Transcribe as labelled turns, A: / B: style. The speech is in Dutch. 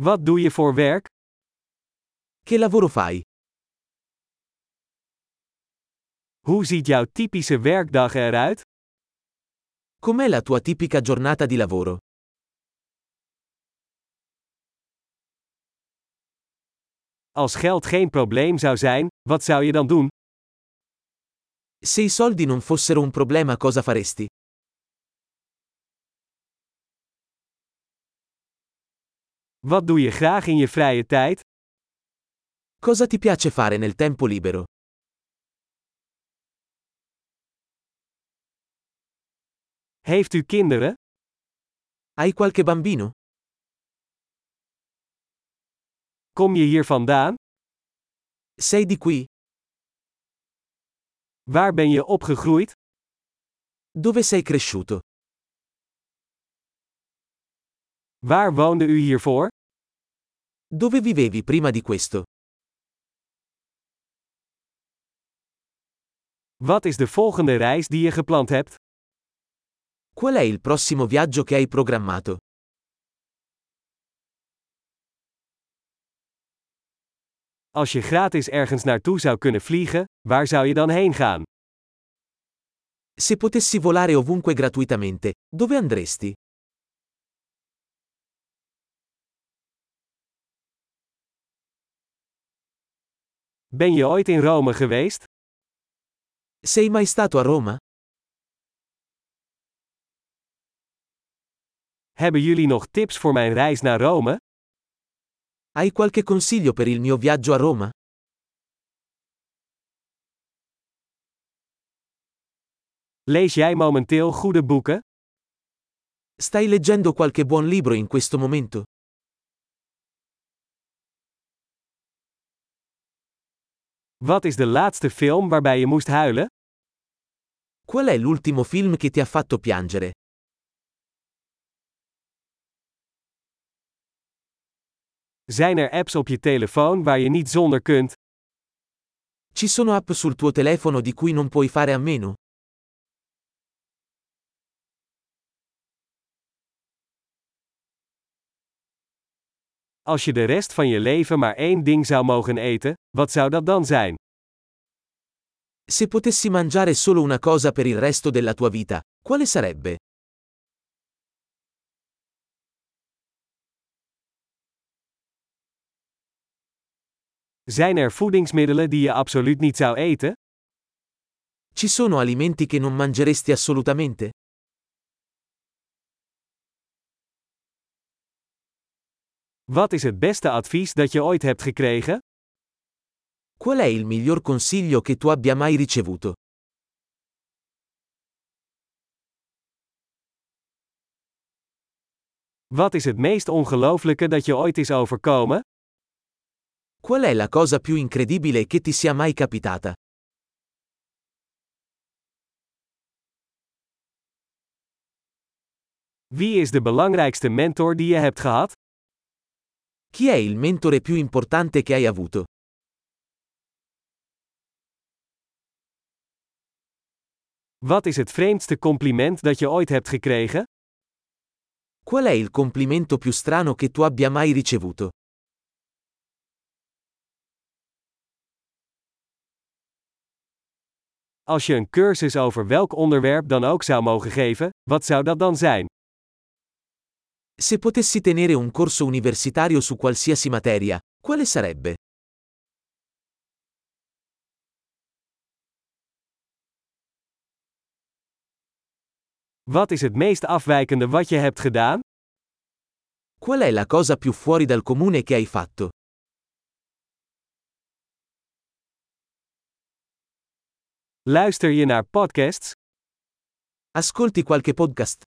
A: Wat doe je voor werk?
B: Che lavoro fai?
A: Hoe ziet jouw typische werkdag eruit?
B: Com'è la tua tipica giornata di lavoro?
A: Als geld geen probleem zou zijn, wat zou je dan doen?
B: Se i soldi non fossero un problema cosa faresti?
A: Wat doe je graag in je vrije tijd?
B: Cosa ti piace fare nel tempo libero?
A: Heeft u kinderen?
B: Hai qualche bambino?
A: Kom je hier vandaan?
B: Sei di qui?
A: Waar ben je opgegroeid?
B: Dove sei cresciuto?
A: Waar woonde u hiervoor?
B: Dove vivevi prima di questo?
A: Wat is de volgende reis die je gepland hebt?
B: Qual è il prossimo viaggio che hai programmato?
A: Als je gratis ergens naartoe zou kunnen vliegen, waar zou je dan heen gaan?
B: Se potessi volare ovunque gratuitamente, dove andresti?
A: Ben je ooit in Rome geweest?
B: Sei mai stato a Roma?
A: Hebben jullie nog tips voor mijn reis naar Rome?
B: Hai qualche consiglio per il mio viaggio a Roma?
A: Lees jij momenteel goede boeken?
B: Stai leggendo qualche buon libro in questo momento?
A: Wat is de laatste film waarbij je moest huilen?
B: Qual è l'ultimo film che ti ha fatto piangere?
A: Zijn er apps op je telefoon waar je niet zonder kunt?
B: Ci sono app sul tuo telefono di cui non puoi fare a meno?
A: Als je de rest van je leven maar één ding zou mogen eten, wat zou dat dan zijn?
B: Se potessi mangiare solo una cosa per il resto della tua vita, quale sarebbe?
A: Zijn er voedingsmiddelen die je absoluut niet zou eten?
B: Ci sono alimenti che non mangeresti assolutamente?
A: Wat is het beste advies dat je ooit hebt gekregen?
B: Qual è il miglior consiglio che tu abbia mai ricevuto?
A: Wat is het meest ongelooflijke dat je ooit is overkomen?
B: Qual è la cosa più incredibile che ti sia mai capitata?
A: Wie is de belangrijkste mentor die je hebt gehad?
B: Chi è il mentore più importante che hai avuto?
A: Wat is het vreemdste compliment dat je ooit hebt gekregen?
B: Qual è il complimento più strano che tu abbia mai ricevuto?
A: Als je een cursus over welk onderwerp dan ook zou mogen geven, wat zou dat dan zijn?
B: Se potessi tenere un corso universitario su qualsiasi materia, quale sarebbe?
A: Wat is het meest afwijkende wat je hebt gedaan?
B: Qual è la cosa più fuori dal comune che hai fatto?
A: Luister je naar podcasts?
B: Ascolti qualche podcast?